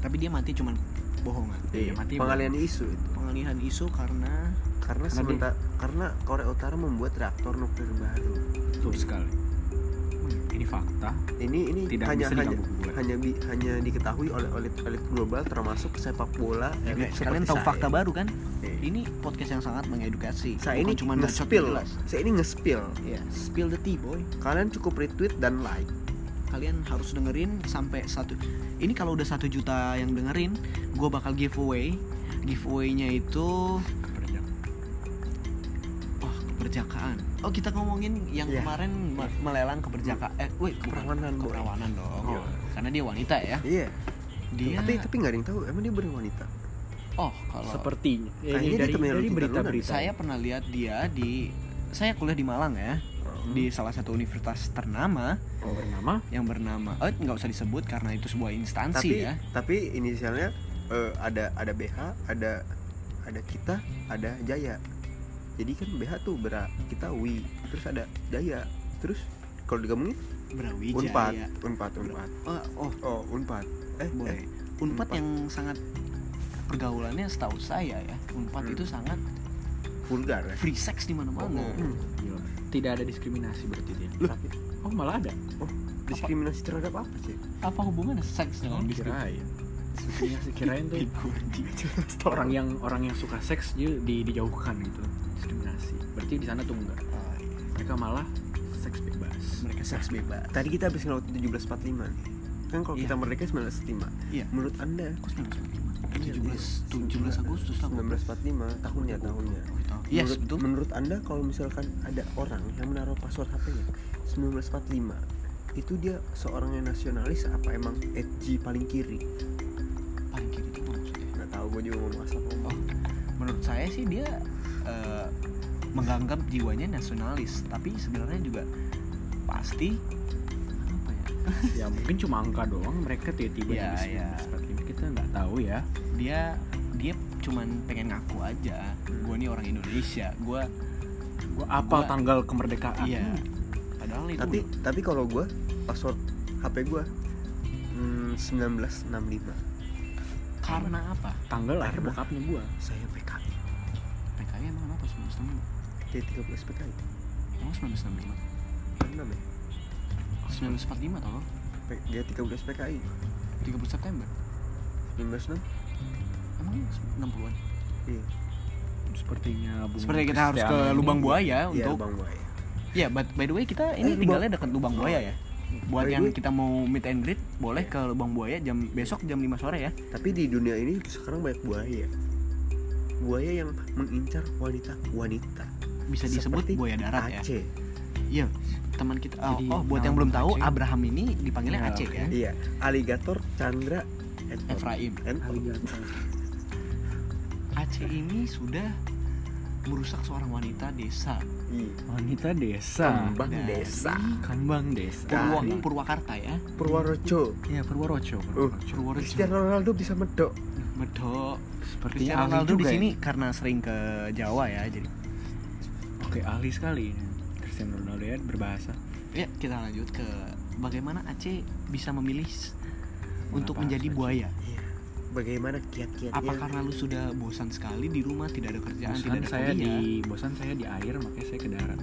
Speaker 2: tapi dia mati cuman bohongan
Speaker 1: Iya,
Speaker 3: Iya,
Speaker 1: mati
Speaker 3: pengalian isu itu
Speaker 2: pengalihan isu karena
Speaker 3: karena
Speaker 1: Karena dia-
Speaker 3: sebentar karena Korea Utara membuat reaktor nuklir baru
Speaker 1: Betul sekali. Hmm, Ini fakta.
Speaker 3: ini ini
Speaker 1: Tidak
Speaker 3: hanya
Speaker 1: bisa
Speaker 3: hanya
Speaker 1: diganggu gugat.
Speaker 3: hanya bi- hanya diketahui oleh elit elit global termasuk sepak bola
Speaker 1: Iya,
Speaker 3: elit Iya, seperti
Speaker 2: kalian tahu
Speaker 3: saya.
Speaker 2: fakta baru kan
Speaker 3: Iya.
Speaker 2: ini podcast yang sangat mengedukasi
Speaker 3: saya ini
Speaker 2: Bukan
Speaker 3: cuma
Speaker 2: cuman bacot
Speaker 3: nge-spill
Speaker 2: di
Speaker 3: lah
Speaker 2: kelas.
Speaker 3: saya ini nge-spill
Speaker 2: Iya, spill the tea boy
Speaker 3: kalian cukup retweet dan like
Speaker 2: kalian harus dengerin sampai satu ini kalau udah satu juta yang dengerin gue bakal giveaway giveaway-nya itu
Speaker 1: Kepercayaan.
Speaker 2: wah keperjakaan oh kita ngomongin yang
Speaker 3: Iya.
Speaker 2: kemarin me- melelang keperjakaan eh wait
Speaker 3: Keperawanan, Boy.
Speaker 2: keperawanan dong
Speaker 1: Iya.
Speaker 2: karena dia wanita ya
Speaker 3: iya
Speaker 2: dia
Speaker 3: tapi tapi nggak ada yang tahu emang dia bener wanita
Speaker 2: oh kalau
Speaker 1: Sepertinya. Eh,
Speaker 3: Kayaknya
Speaker 1: dari
Speaker 3: di Kemeru
Speaker 1: dari
Speaker 3: kita ya.
Speaker 1: berita-berita.
Speaker 2: saya pernah lihat dia di saya kuliah di Malang ya
Speaker 3: Hmm.
Speaker 2: di salah satu universitas ternama
Speaker 1: yang bernama
Speaker 2: yang bernama eh nggak usah disebut karena itu sebuah instansi
Speaker 3: tapi
Speaker 2: ya
Speaker 3: tapi inisialnya eh, ada ada BH ada ada kita ada Jaya jadi kan BH tuh bera kita Wi terus ada Jaya terus kalau digabungin unpad
Speaker 2: Brawijaya
Speaker 3: unpad unpad
Speaker 2: oh, oh
Speaker 3: oh unpad eh,
Speaker 2: Boy.
Speaker 3: eh
Speaker 2: Unpad
Speaker 3: Unpad.
Speaker 2: yang sangat pergaulannya setahu saya ya. Unpad
Speaker 3: Hmm.
Speaker 2: itu sangat
Speaker 3: vulgar ya
Speaker 2: free sex di mana-mana.
Speaker 3: Hmm.
Speaker 1: Gila. tidak ada diskriminasi berarti dia.
Speaker 3: Tapi
Speaker 1: Oh malah ada.
Speaker 3: diskriminasi terhadap apa sih
Speaker 2: Apa hubungannya seks
Speaker 3: Oh,
Speaker 2: dengan
Speaker 1: Oh,
Speaker 2: diskriminasi?
Speaker 1: Kirain. Diskriminasi kirain tuh
Speaker 2: Piku, anjing.
Speaker 1: orang ya. yang orang yang suka seks dia di, dijauhkan gitu diskriminasi. Berarti di sana tuh enggak.
Speaker 2: Ah, iya.
Speaker 1: Mereka malah seks bebas.
Speaker 2: Mereka seks bebas.
Speaker 3: tadi kita habis ngelaut 1745 nih kan kalau
Speaker 2: Iya.
Speaker 3: kita merdeka 1945
Speaker 2: Iya.
Speaker 3: menurut anda
Speaker 2: Kok 1945? 17
Speaker 3: Iya,
Speaker 2: 17 Agustus lah.
Speaker 3: 1945 tahunnya tahunnya
Speaker 2: Oh, itu. Yes,
Speaker 3: menurut,
Speaker 2: betul.
Speaker 3: menurut anda kalau misalkan ada orang yang menaruh password HP-nya 1945 itu dia seorang yang nasionalis apa emang edgy paling kiri
Speaker 2: Paling kiri itu maksudnya.
Speaker 3: nggak tahu gue juga ngomong asal ngomong
Speaker 2: Oh, menurut saya sih dia eh, menganggap jiwanya nasionalis, tapi sebenarnya juga pasti apa
Speaker 1: ya
Speaker 2: ya?
Speaker 1: mungkin cuma angka doang mereka tiba-tiba
Speaker 2: Iya,
Speaker 1: di
Speaker 2: iya.
Speaker 1: ini kita nggak tahu ya.
Speaker 2: dia dia cuman pengen ngaku aja gue nih orang Indonesia gue
Speaker 1: Gua apal
Speaker 2: Gua-
Speaker 1: tanggal kemerdekaan.
Speaker 2: iya padahal itu
Speaker 3: tapi tapi kalau gue password HP gue hmm, 1965
Speaker 2: karena apa
Speaker 1: Tanggal lahir bokapnya gua.
Speaker 3: saya PKI
Speaker 2: PKI emang kenapa 1965
Speaker 3: T13 PKI
Speaker 2: emang 1965
Speaker 3: Bener ya
Speaker 2: 1945 tau lo
Speaker 3: P- dia 13 PKI
Speaker 2: 30 September
Speaker 3: 19
Speaker 2: emang 60-an
Speaker 3: iya
Speaker 1: Sepertinya Bung
Speaker 2: sepertinya kita harus ke
Speaker 1: Christian ini-
Speaker 2: lubang buaya
Speaker 3: iya
Speaker 2: Oh, untuk
Speaker 3: bang Boy
Speaker 2: ya but by the way kita ini
Speaker 3: Eh,
Speaker 2: tinggalnya dekat lubang buaya ya buat
Speaker 3: By the
Speaker 2: yang
Speaker 3: way-
Speaker 2: kita mau meet and greet boleh ke lubang buaya jam besok jam 5 sore ya
Speaker 3: Tapi di dunia ini sekarang banyak buaya. Buaya yang mengincar wanita-wanita.
Speaker 2: bisa disebut
Speaker 3: Seperti
Speaker 2: buaya darat ya
Speaker 3: Aceh.
Speaker 2: iya teman kita oh,
Speaker 1: Jadi,
Speaker 2: oh, buat yang
Speaker 1: nama
Speaker 2: belum tahu
Speaker 1: Aceh.
Speaker 2: Abraham ini dipanggilnya
Speaker 1: Ya,
Speaker 2: Aceh
Speaker 1: oke.
Speaker 2: ya
Speaker 3: Iya, aligator Chandra Kan? Anton.
Speaker 2: Efraim
Speaker 3: Anton.
Speaker 1: Alligator.
Speaker 2: Aceh ini sudah merusak seorang wanita desa
Speaker 3: Iya,
Speaker 1: Wanita desa.
Speaker 3: Kembang
Speaker 2: dari
Speaker 3: desa.
Speaker 1: Kanbang desa.
Speaker 2: Purwo-
Speaker 3: Dari-
Speaker 2: Purwakarta ya
Speaker 3: Purworejo.
Speaker 1: Ya Purworejo. Purworejo.
Speaker 2: Purworejo
Speaker 3: Cristiano Ronaldo bisa medok.
Speaker 2: Medok
Speaker 1: Sepertinya
Speaker 2: Cristiano
Speaker 1: ahli
Speaker 2: Ronaldo di
Speaker 1: juga ya.
Speaker 2: sini karena sering ke Jawa ya jadi
Speaker 1: Oke, ahli sekali ini. Cristiano Ronaldo ya berbahasa.
Speaker 2: ya kita lanjut ke bagaimana Aceh bisa memilih s- untuk
Speaker 1: Kenapa
Speaker 2: menjadi
Speaker 1: harus
Speaker 2: buaya
Speaker 3: Iya. bagaimana kiat-kiatnya
Speaker 2: apa karena lu sudah bosan sekali di rumah tidak ada kerjaan
Speaker 1: bosan
Speaker 2: tidak ada
Speaker 1: saya
Speaker 2: kuliah
Speaker 1: di bosan saya di air makanya saya ke darat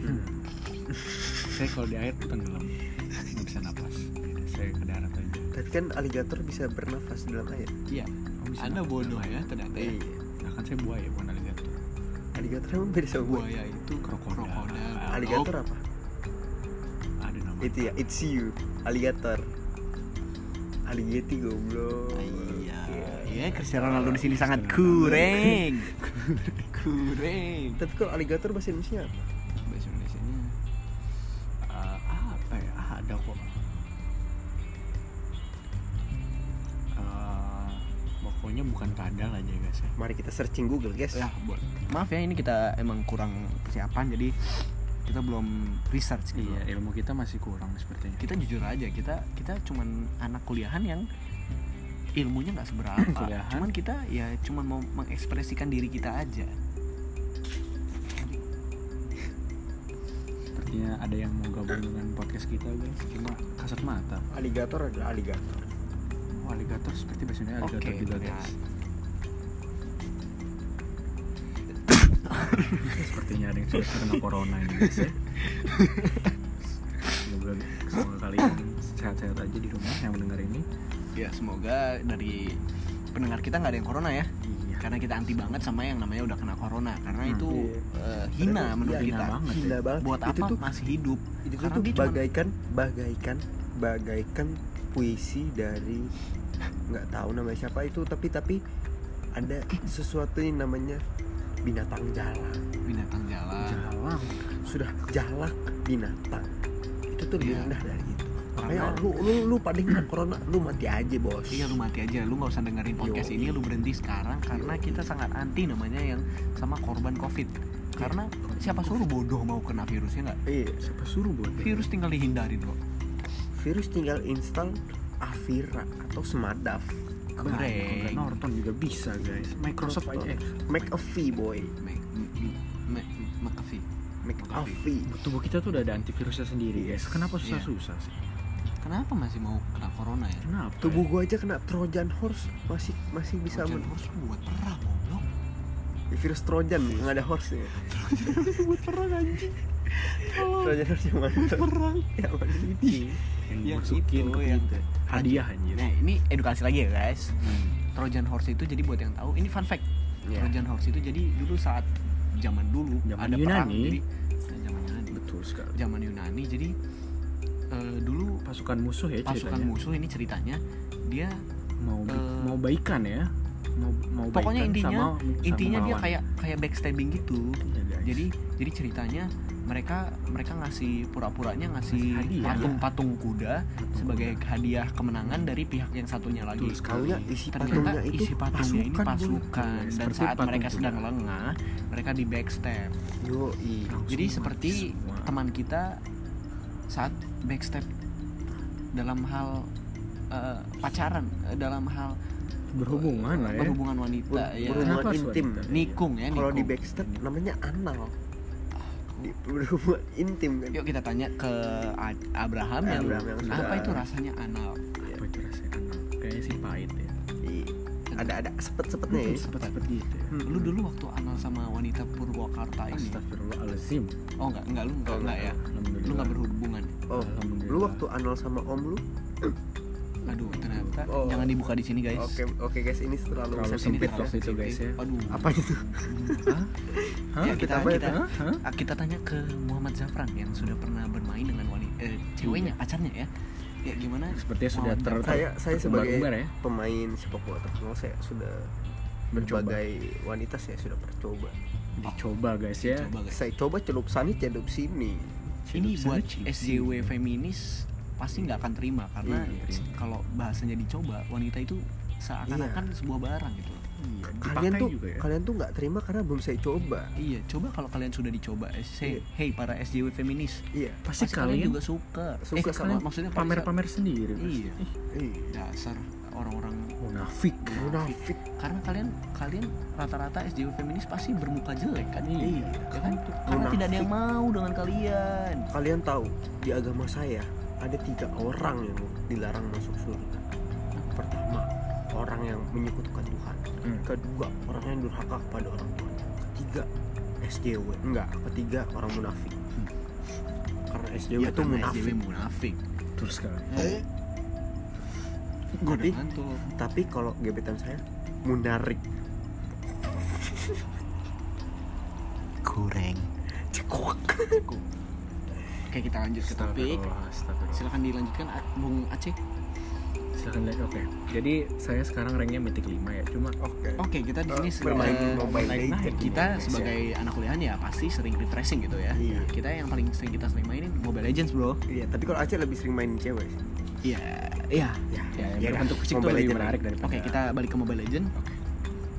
Speaker 3: Hmm.
Speaker 1: saya kalau di air tuh tenggelam nggak bisa napas Yaudah, saya ke darat aja
Speaker 3: tapi kan aligator bisa bernafas dalam air
Speaker 2: iya
Speaker 1: Oh, bisa
Speaker 2: ada
Speaker 1: napas
Speaker 2: bodoh
Speaker 1: dalam
Speaker 2: ya
Speaker 1: air.
Speaker 2: ternyata ya.
Speaker 3: Iya.
Speaker 1: Nah, kan saya buaya bukan aligator
Speaker 3: aligator emang beda sama buaya
Speaker 2: buaya itu
Speaker 1: Krokodil. Ah,
Speaker 2: krokodil,
Speaker 3: aligator apa
Speaker 1: ada nama
Speaker 3: itu ya it's you aligator aligeti goblok
Speaker 2: iya
Speaker 3: Iya.
Speaker 2: iya Cristiano Ronaldo di sini sangat
Speaker 1: Cristiano
Speaker 2: kurang kurang
Speaker 3: tapi kalau aligator bahasa Indonesia apa
Speaker 2: bahasa Indonesia nya
Speaker 1: Ah, apa ya Ah, ada kok Ah, pokoknya bukan kadal aja guys ya
Speaker 3: mari kita searching Google guys
Speaker 2: ya buat maaf ya ini kita emang kurang persiapan jadi kita belum research gitu
Speaker 1: iya ilmu kita masih kurang sepertinya
Speaker 2: kita jujur aja kita kita cuman anak kuliahan yang ilmunya nggak seberapa
Speaker 1: Kuliahan.
Speaker 2: cuman kita ya cuman mau mengekspresikan diri kita aja
Speaker 1: sepertinya ada yang mau gabung dengan podcast kita guys cuma kasat mata
Speaker 3: aligator adalah aligator
Speaker 1: oh, aligator seperti biasanya
Speaker 2: oke
Speaker 1: aligator juga
Speaker 2: ya.
Speaker 1: guys sepertinya ada yang sudah terkena corona ini guys ya semoga semoga kalian sehat-sehat aja di rumah yang mendengar ini
Speaker 2: Ya, semoga dari pendengar kita nggak ada yang corona ya
Speaker 1: iya
Speaker 2: karena kita anti banget sama yang namanya udah kena corona karena
Speaker 1: Hmm,
Speaker 2: itu
Speaker 3: iya.
Speaker 2: eh, hina
Speaker 3: Padahal
Speaker 2: menurut
Speaker 3: iya,
Speaker 2: kita
Speaker 1: hina banget
Speaker 3: gila banget
Speaker 2: buat
Speaker 3: itu
Speaker 2: apa
Speaker 3: tuh
Speaker 2: masih hidup
Speaker 3: itu
Speaker 2: Karena
Speaker 3: tuh
Speaker 2: dia cuman-
Speaker 3: bagaikan bagaikan bagaikan puisi dari nggak tahu namanya siapa itu tapi tapi ada sesuatu yang namanya binatang jalak
Speaker 2: binatang jalan
Speaker 1: jalan
Speaker 3: sudah jalak binatang itu tuh lebih
Speaker 2: Iya.
Speaker 3: rendah dari itu makanya
Speaker 2: Karena-
Speaker 3: lu lu lu pada kena corona lu mati aja bos
Speaker 2: Iya lu mati aja, lu nggak usah dengerin podcast
Speaker 3: Yoi.
Speaker 2: ini, lu berhenti sekarang karena
Speaker 3: Yoi.
Speaker 2: kita sangat anti namanya yang sama korban covid. Karena siapa suruh bodoh mau kena virusnya nggak?
Speaker 3: Iya.
Speaker 1: siapa suruh buat
Speaker 2: Virus tinggal dihindarin kok.
Speaker 3: virus tinggal install Avira atau Semadaf
Speaker 1: Keren.
Speaker 2: Goreng.
Speaker 1: Norton juga bisa guys. Microsoft aja. Eh,
Speaker 3: McAfee boy
Speaker 2: Mac- m- m- m- McAfee.
Speaker 3: McAfee
Speaker 1: tubuh kita tuh udah ada antivirusnya sendiri guys. Kenapa
Speaker 2: Iya.
Speaker 1: susah-susah sih?
Speaker 2: Kenapa masih mau kena corona ya?
Speaker 1: Kenapa?
Speaker 3: tubuh gua aja kena Trojan horse masih masih bisa
Speaker 2: Hujan
Speaker 3: men-
Speaker 2: terus buat perang goblok.
Speaker 3: virus Trojan nggak ada horse ya Trojan horse yang mana
Speaker 2: Perang.
Speaker 3: yang mana
Speaker 1: ya? yang
Speaker 2: Yang
Speaker 1: dimasukin
Speaker 2: itu,
Speaker 1: ke
Speaker 2: yang-
Speaker 1: perut ya. hadiah anjir. Hmm.
Speaker 2: Nah ini edukasi lagi ya guys. Trojan horse itu jadi buat yang tahu, ini fun fact.
Speaker 3: Iya.
Speaker 2: Trojan horse itu jadi dulu saat zaman dulu
Speaker 1: Zaman
Speaker 2: ada perang
Speaker 1: Yunani.
Speaker 2: jadi nah, zaman Yunani.
Speaker 1: Betul sekali.
Speaker 2: zaman Yunani jadi eh, dulu
Speaker 1: Pasukan musuh ya
Speaker 2: pasukan
Speaker 1: ceritanya.
Speaker 2: musuh ini ceritanya dia
Speaker 1: Mau
Speaker 2: Eh,
Speaker 1: mau baikan ya. Mau mau
Speaker 2: pokoknya
Speaker 1: baikan
Speaker 2: intinya
Speaker 1: sama- sama
Speaker 2: intinya dia
Speaker 1: lawan.
Speaker 2: kayak kayak backstabbing gitu
Speaker 1: Iya, guys.
Speaker 2: jadi jadi ceritanya mereka mereka ngasih pura-puranya
Speaker 1: Ngasih
Speaker 2: ngasih
Speaker 1: hadiah. ya.
Speaker 2: patung-patung kuda sebagai hadiah kemenangan dari pihak yang satunya lagi
Speaker 1: Betul sekali.
Speaker 3: Taunya isi
Speaker 2: ternyata
Speaker 3: patungnya itu
Speaker 2: isi patungnya ini
Speaker 3: pasukan,
Speaker 2: pasukan
Speaker 1: Bro.
Speaker 2: dan
Speaker 1: Iya, Seperti
Speaker 2: saat
Speaker 1: patung
Speaker 2: mereka
Speaker 1: kuda.
Speaker 2: sedang lengah mereka di backstab
Speaker 3: Boy. Yoi.
Speaker 1: Langsung
Speaker 2: jadi
Speaker 1: mati
Speaker 2: seperti
Speaker 1: semua.
Speaker 2: teman kita saat backstab dalam hal eh, pacaran eh, dalam hal
Speaker 1: berhubungan lah ya.
Speaker 2: berhubungan wanita
Speaker 3: Ber-
Speaker 2: ya
Speaker 3: berhubungan
Speaker 1: Kenapa suara
Speaker 3: intim.
Speaker 1: kita?
Speaker 2: nikung ya
Speaker 3: kalau di
Speaker 2: nikung
Speaker 3: backstab namanya anal di berhubungan intim kan
Speaker 2: yuk kita tanya ke A- Abraham yang,
Speaker 3: Abraham yang sudah-
Speaker 2: apa itu rasanya anal
Speaker 1: Apa itu rasanya? Kayaknya sih pahit ya.
Speaker 3: Iya. ada ada sepet sepetnya ya
Speaker 1: Sepet-sepet gitu ya.
Speaker 2: lu dulu waktu anal sama wanita Purwakarta ini
Speaker 1: Astagfirullahalazim.
Speaker 2: oh enggak enggak lu enggak,
Speaker 3: Oh,
Speaker 2: enggak ya
Speaker 1: Alhamdulillah.
Speaker 2: lu enggak berhubungan
Speaker 3: oh
Speaker 1: Alhamdulillah.
Speaker 3: lu waktu anal sama om lu
Speaker 2: aduh ternyata
Speaker 3: Oh.
Speaker 2: jangan dibuka di sini guys
Speaker 3: oke oke guys ini terlalu
Speaker 1: Terlalu
Speaker 2: Ini
Speaker 1: sempit
Speaker 2: terlalu
Speaker 1: waktu itu, guys,
Speaker 2: sensitif.
Speaker 1: ya.
Speaker 2: aduh
Speaker 3: apa itu
Speaker 1: Hah?
Speaker 2: ya kita
Speaker 3: Apa itu?
Speaker 2: kita Ah, kita tanya ke Muhammad Zafran yang sudah pernah bermain dengan wanita eh, ceweknya pacarnya ya ya gimana
Speaker 1: Sepertinya sudah
Speaker 2: Muhammad
Speaker 1: ter
Speaker 2: Zafran?
Speaker 3: saya saya sebagai
Speaker 1: Terumbar-umbar ya.
Speaker 3: pemain sepak bola terkenal saya sudah
Speaker 1: Mencoba.
Speaker 3: sebagai wanita saya sudah percoba
Speaker 1: Dicoba guys ya.
Speaker 2: Coba, guys.
Speaker 3: saya coba celup sana celup sini
Speaker 2: ini
Speaker 1: Cilup
Speaker 2: buat
Speaker 1: sana, cilup
Speaker 2: SJW
Speaker 1: sini.
Speaker 2: feminis pasti nggak akan terima karena
Speaker 1: Iya, terima.
Speaker 2: kalau bahasanya dicoba wanita itu seakan-akan sebuah barang gitu loh.
Speaker 1: Iya,
Speaker 3: kalian
Speaker 1: dipakai
Speaker 3: tuh
Speaker 1: juga ya.
Speaker 3: kalian tuh nggak terima karena belum saya coba
Speaker 2: iya coba kalau kalian sudah dicoba eh, say, hey para SJW feminis
Speaker 3: iya
Speaker 1: pasti,
Speaker 2: kalian,
Speaker 1: kalian
Speaker 2: juga suka
Speaker 3: Suka
Speaker 2: Eh,
Speaker 3: sama-
Speaker 2: kalian- maksudnya pasti-
Speaker 1: pamer-pamer sendiri. pasti.
Speaker 2: iya
Speaker 1: Ih,
Speaker 3: iya
Speaker 2: dasar orang-orang
Speaker 1: Munafik.
Speaker 3: munafik
Speaker 2: karena kalian kalian rata-rata SJW feminis pasti bermuka jelek kan
Speaker 1: Iya.
Speaker 2: Ya kan? Karena
Speaker 3: Munafik.
Speaker 2: tidak ada yang mau dengan kalian.
Speaker 3: kalian tahu di agama saya ada tiga orang yang dilarang masuk surga pertama orang yang menyekutukan Tuhan
Speaker 4: Hmm.
Speaker 3: kedua orang yang durhaka kepada orang tua ketiga SJW enggak ketiga orang munafik karena SJW
Speaker 2: Hmm.
Speaker 3: itu
Speaker 2: Iya, karena
Speaker 3: Iya, munafik
Speaker 2: SJW Ya, munafik.
Speaker 1: terus sekali
Speaker 2: Eh, gua
Speaker 3: Tapi-
Speaker 2: udah ngantuk.
Speaker 3: tapi kalau gebetan saya munarik
Speaker 2: Kurang. Cukup. Oke kita lanjut ke topik. Silahkan dilanjutkan A- Bung Aceh.
Speaker 1: silakan lihat oke jadi saya sekarang ranknya mitik 5 ya cuma
Speaker 3: oke
Speaker 2: Oke kita di sini
Speaker 3: Eh,
Speaker 2: sudah
Speaker 3: bermain Mobile
Speaker 2: naik-naik.
Speaker 3: Legends di
Speaker 2: Kita
Speaker 3: Indonesia.
Speaker 2: sebagai anak kuliahan ya pasti sering refreshing gitu ya.
Speaker 3: Iya.
Speaker 2: Kita yang paling sering kita sering mainin Mobile Legends bro.
Speaker 3: iya tapi kalau Aceh lebih sering main cewek sih.
Speaker 2: Iya. Iya.
Speaker 3: ya
Speaker 1: ya,
Speaker 3: ya
Speaker 1: yang
Speaker 3: udah,
Speaker 1: berbentuk fisik tuh
Speaker 3: Mobile
Speaker 1: lebih
Speaker 3: Legends.
Speaker 1: menarik daripada
Speaker 2: Oke kita balik ke Mobile Legends.
Speaker 1: Oke.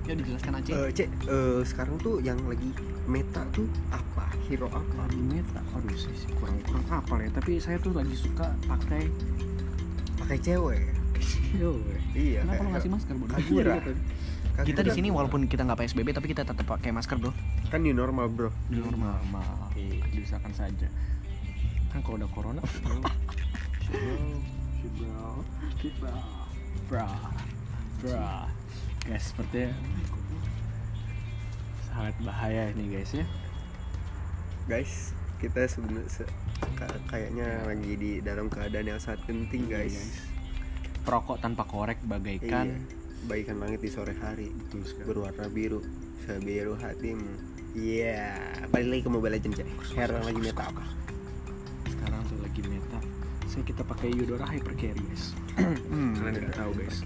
Speaker 2: Yuk dijelaskan Aceh.
Speaker 3: Eh, Cek, eh, sekarang tuh yang lagi meta tuh apa? Hero apa?
Speaker 1: lagi meta aduh saya sih kurang kurang apa ya tapi saya tuh lagi suka pakai
Speaker 3: Pakai cewek.
Speaker 1: yo
Speaker 3: Iya.
Speaker 2: Kenapa lo
Speaker 3: kayak-
Speaker 2: ngasih masker bro?
Speaker 3: Kagura. Kagura.
Speaker 2: Kita di sini walaupun kita nggak PSBB tapi kita tetap pakai masker bro.
Speaker 3: kan new normal, Bro.
Speaker 2: Di normal.
Speaker 1: normal
Speaker 2: Iya.
Speaker 1: diusahakan saja kan kalau udah corona bra bra guys ya, sepertinya sangat bahaya ini guys ya
Speaker 3: Guys, kita sebenarnya se- ka- kayaknya lagi di dalam keadaan yang sangat genting,
Speaker 2: Iya,
Speaker 3: guys.
Speaker 1: perokok tanpa korek bagaikan
Speaker 3: Iya. Baikan langit di sore hari
Speaker 1: Kan? Betul sekali.
Speaker 3: berwarna biru sebiru hatimu. Iya, balik lagi ke Mobile Legends, Cek. Hero yang lagi meta apa?
Speaker 1: sekarang tuh lagi meta saya kita pakai Eudora Hyper Carry guys
Speaker 3: Hmm,
Speaker 1: kalian udah tahu guys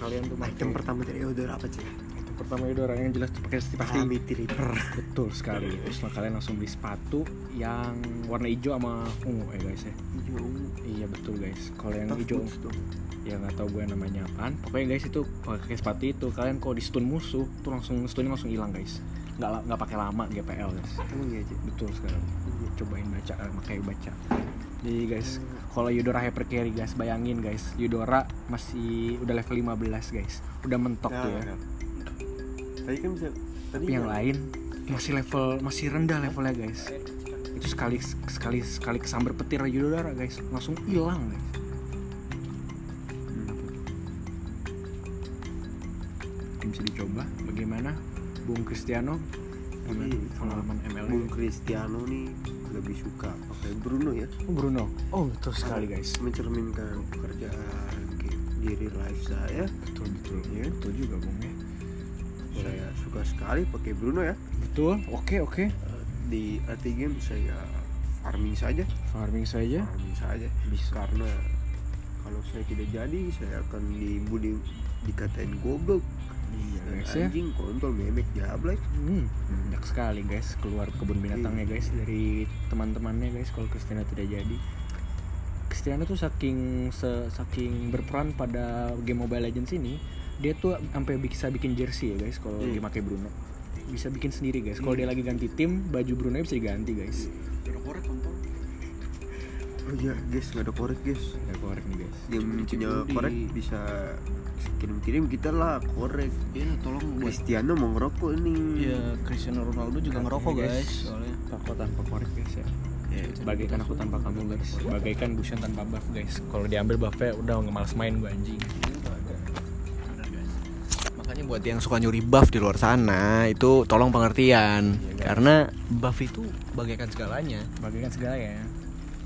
Speaker 4: kalian tuh
Speaker 3: Item pertama dari Eudora apa, Cek?
Speaker 1: itu pertama Eudora yang jelas tuh pakai pasti
Speaker 3: Pasti Reaper.
Speaker 1: betul sekali setelah kalian langsung beli sepatu yang warna hijau sama ungu ya guys ya
Speaker 3: Hijau ungu.
Speaker 1: iya betul guys kalau yang
Speaker 3: Tough
Speaker 1: hijau
Speaker 3: boots tuh.
Speaker 1: ya nggak tahu gue namanya apaan pokoknya guys itu pakai sepatu itu kalian kalau di stun musuh tuh langsung stunnya langsung hilang guys nggak la- nggak pakai lama GPL guys
Speaker 3: Emang iya, Cek?
Speaker 1: betul sekali cobain baca eh, makanya baca jadi guys kalau Eudora hyper carry guys bayangin guys Eudora masih udah level 15 guys udah mentok tuh ya
Speaker 3: Tadi kan bisa tadi
Speaker 1: tapi yang lain masih level masih rendah levelnya guys itu sekali sekali sekali kesambar petir aja udara guys langsung hilang guys Mungkin bisa dicoba bagaimana Bung Cristiano gimana
Speaker 3: Iya.
Speaker 1: pengalaman ML
Speaker 3: Bung Cristiano nih lebih suka pakai Bruno ya
Speaker 1: oh, Bruno oh betul sekali guys
Speaker 3: mencerminkan pekerjaan ke- diri life saya
Speaker 1: betul betul betul juga Bung ya
Speaker 3: saya suka sekali pakai Bruno ya
Speaker 1: betul oke oke
Speaker 3: Eh, di arti game saya farming saja
Speaker 1: farming saja
Speaker 3: farming saja
Speaker 1: bisa
Speaker 3: karena kalau saya tidak jadi saya akan dibully dikatain goblok
Speaker 1: iya
Speaker 3: dan
Speaker 1: guys ya
Speaker 3: anjing kontol memek jablay
Speaker 1: Hmm, Iya. banyak sekali guys keluar kebun binatangnya guys dari teman-temannya guys kalau Christina tidak jadi. Christiana tuh saking se- saking berperan pada game Mobile Legends ini, dia tuh sampai bisa bikin jersey ya guys kalau dia pakai Bruno. Bisa bikin sendiri guys. Kalau dia lagi ganti tim, baju Bruno bisa diganti guys.
Speaker 4: udah korek kontol
Speaker 3: oh iya guys nggak ada korek guys
Speaker 1: Ada korek Iya, nih guys.
Speaker 3: yang punya
Speaker 4: Di-
Speaker 3: korek bisa kirim-kirim kita lah korek
Speaker 2: Iya tolong buat
Speaker 3: Cristiano mau ngerokok nih
Speaker 2: Iya, Cristiano Ronaldo juga ngerokok guys.
Speaker 1: Iya,
Speaker 2: Soalnya
Speaker 1: Aku tanpa korek guys ya. Bagaikan aku tanpa kamu guys. Bagaikan Busan tanpa buff guys. Kalau diambil buffnya udah nggak males main gue anjing.
Speaker 2: Makanya buat yang suka nyuri buff di luar sana itu tolong pengertian
Speaker 1: Iya,
Speaker 2: karena buff itu bagaikan segalanya.
Speaker 1: Bagaikan segala ya.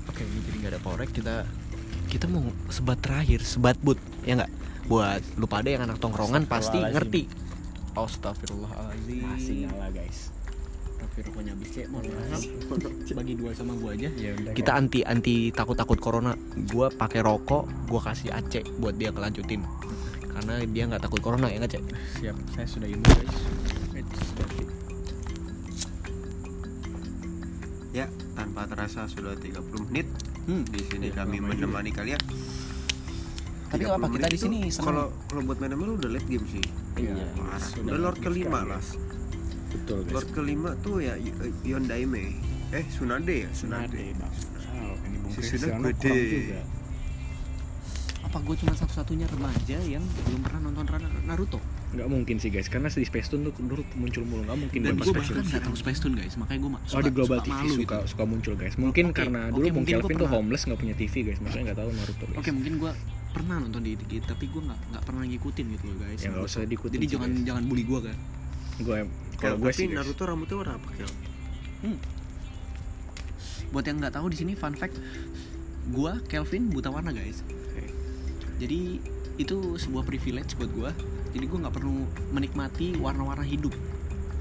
Speaker 2: Oke, ini jadi nggak ada korek kita kita mau sebat terakhir, sebat but ya nggak? Buat lu pada yang anak tongkrongan pasti ngerti.
Speaker 1: Asing
Speaker 2: Astagfirullahaladzim.
Speaker 1: nyala guys.
Speaker 2: Tapi rokoknya habis cek, mohon maaf. Bagi dua sama gua aja.
Speaker 1: Ya udah,
Speaker 2: Kita anti anti takut takut corona. Gua pakai rokok, gua kasih Aceh buat dia kelanjutin. Karena dia nggak takut corona ya nggak Cek?
Speaker 1: Siap, saya sudah ini guys.
Speaker 3: ya tanpa terasa sudah 30 menit
Speaker 2: Hmm.
Speaker 3: di sini
Speaker 1: Iya,
Speaker 3: kami menemani kalian
Speaker 2: Tapi nggak apa,
Speaker 3: 30
Speaker 2: kita
Speaker 3: menit
Speaker 2: di
Speaker 3: itu
Speaker 2: sini senang.
Speaker 3: kalau kalau buat main ML udah late game sih
Speaker 1: Iya,
Speaker 3: Parah.
Speaker 1: sudah
Speaker 3: udah lord
Speaker 1: late
Speaker 3: kelima
Speaker 1: sekali.
Speaker 3: lah
Speaker 1: Betul guys.
Speaker 3: lord kelima tuh ya Y- eh, Yondaime eh Sunade ya Sunade
Speaker 1: Bang. Salah, ini Bung
Speaker 3: Si
Speaker 1: Cristiano
Speaker 3: Sunade.
Speaker 1: kurang juga.
Speaker 2: Apa gue cuma satu-satunya remaja yang belum pernah nonton Ran- Naruto?
Speaker 1: Nggak mungkin sih guys, karena di Space Tune tuh dulu muncul mulu nggak mungkin
Speaker 2: Dan
Speaker 1: lepas
Speaker 2: gue
Speaker 1: Space
Speaker 2: bahkan
Speaker 1: Tune.
Speaker 2: nggak tahu Space Tune guys, makanya gue
Speaker 1: Oh
Speaker 2: suka,
Speaker 1: di Global
Speaker 2: suka
Speaker 1: TV
Speaker 2: malu
Speaker 1: suka
Speaker 2: gitu.
Speaker 1: suka muncul guys. Mungkin
Speaker 2: Oke,
Speaker 1: karena
Speaker 2: oke,
Speaker 1: dulu Bung
Speaker 2: mungkin gua
Speaker 1: Kelvin tuh
Speaker 2: pernah.
Speaker 1: homeless nggak punya TV guys, makanya nggak tahu Naruto guys.
Speaker 2: Oke mungkin gue pernah nonton di dikit tapi gue nggak nggak pernah ngikutin gitu loh guys
Speaker 1: Ya, nggak usah diikutin
Speaker 2: jadi
Speaker 1: sih,
Speaker 2: jangan
Speaker 1: guys.
Speaker 2: jangan bully gue kan
Speaker 1: gue kalau gue sih Iya.
Speaker 3: tapi Naruto rambutnya warna apa Kel?
Speaker 2: buat yang nggak tahu di sini fun fact gue Kelvin buta warna guys jadi itu sebuah privilege buat gue jadi gue nggak perlu menikmati warna-warna hidup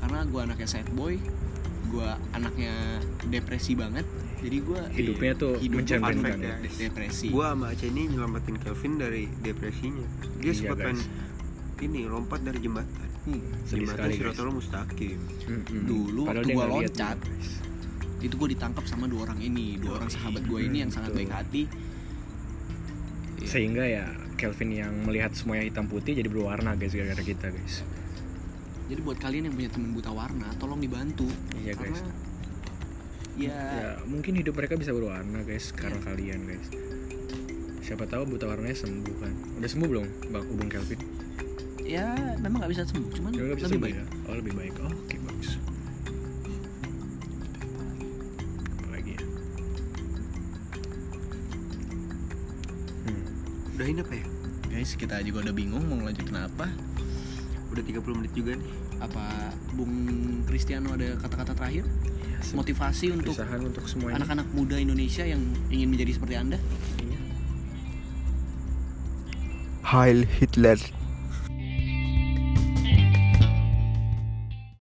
Speaker 2: karena gue anaknya sad boy gue anaknya depresi banget jadi gue
Speaker 1: hidupnya tuh
Speaker 2: hidup gue
Speaker 1: mencerminkan
Speaker 2: fun fact,
Speaker 1: ya.
Speaker 2: de- depresi
Speaker 3: Gua sama Ace ini nyelamatin Kelvin dari depresinya. Dia
Speaker 1: Iya,
Speaker 3: sempat
Speaker 1: guys.
Speaker 3: main ini lompat dari jembatan.
Speaker 2: Hmm.
Speaker 1: sedih
Speaker 3: jembatan
Speaker 1: sekali guys. Iya,
Speaker 3: Sirotol Mustaqim.
Speaker 1: Mm-mm.
Speaker 2: dulu
Speaker 1: Padahal
Speaker 2: waktu
Speaker 1: dia
Speaker 2: gue
Speaker 1: nggak lihat
Speaker 2: loncat
Speaker 1: nih, guys.
Speaker 2: itu gue ditangkap sama dua orang ini dua orang sahabat gue ini
Speaker 1: Hmm,
Speaker 2: yang sangat
Speaker 1: betul.
Speaker 2: baik hati Iya.
Speaker 1: sehingga ya Kelvin yang melihat semuanya hitam putih jadi berwarna guys gara-gara kita guys
Speaker 2: jadi buat kalian yang punya teman buta warna tolong dibantu
Speaker 1: iya guys
Speaker 2: karena ya,
Speaker 1: ya mungkin hidup mereka bisa berwarna guys karena
Speaker 2: Iya.
Speaker 1: kalian guys siapa tahu buta warnanya sembuh kan udah sembuh belum bang ubung Kelvin
Speaker 2: ya memang nggak bisa sembuh cuman
Speaker 1: Ya, udah bisa sembuh
Speaker 2: lebih baik
Speaker 1: ya? oh lebih baik oh, oke bagus Apa lagi ya hmm.
Speaker 3: Udahin apa ya?
Speaker 2: guys kita juga udah bingung mau lanjutin apa
Speaker 3: Udah 30 menit juga nih.
Speaker 2: apa Bung Cristiano ada kata-kata terakhir motivasi untuk
Speaker 1: Perpisahan untuk semuanya
Speaker 2: anak-anak muda Indonesia yang ingin menjadi seperti anda
Speaker 3: Heil Hitler.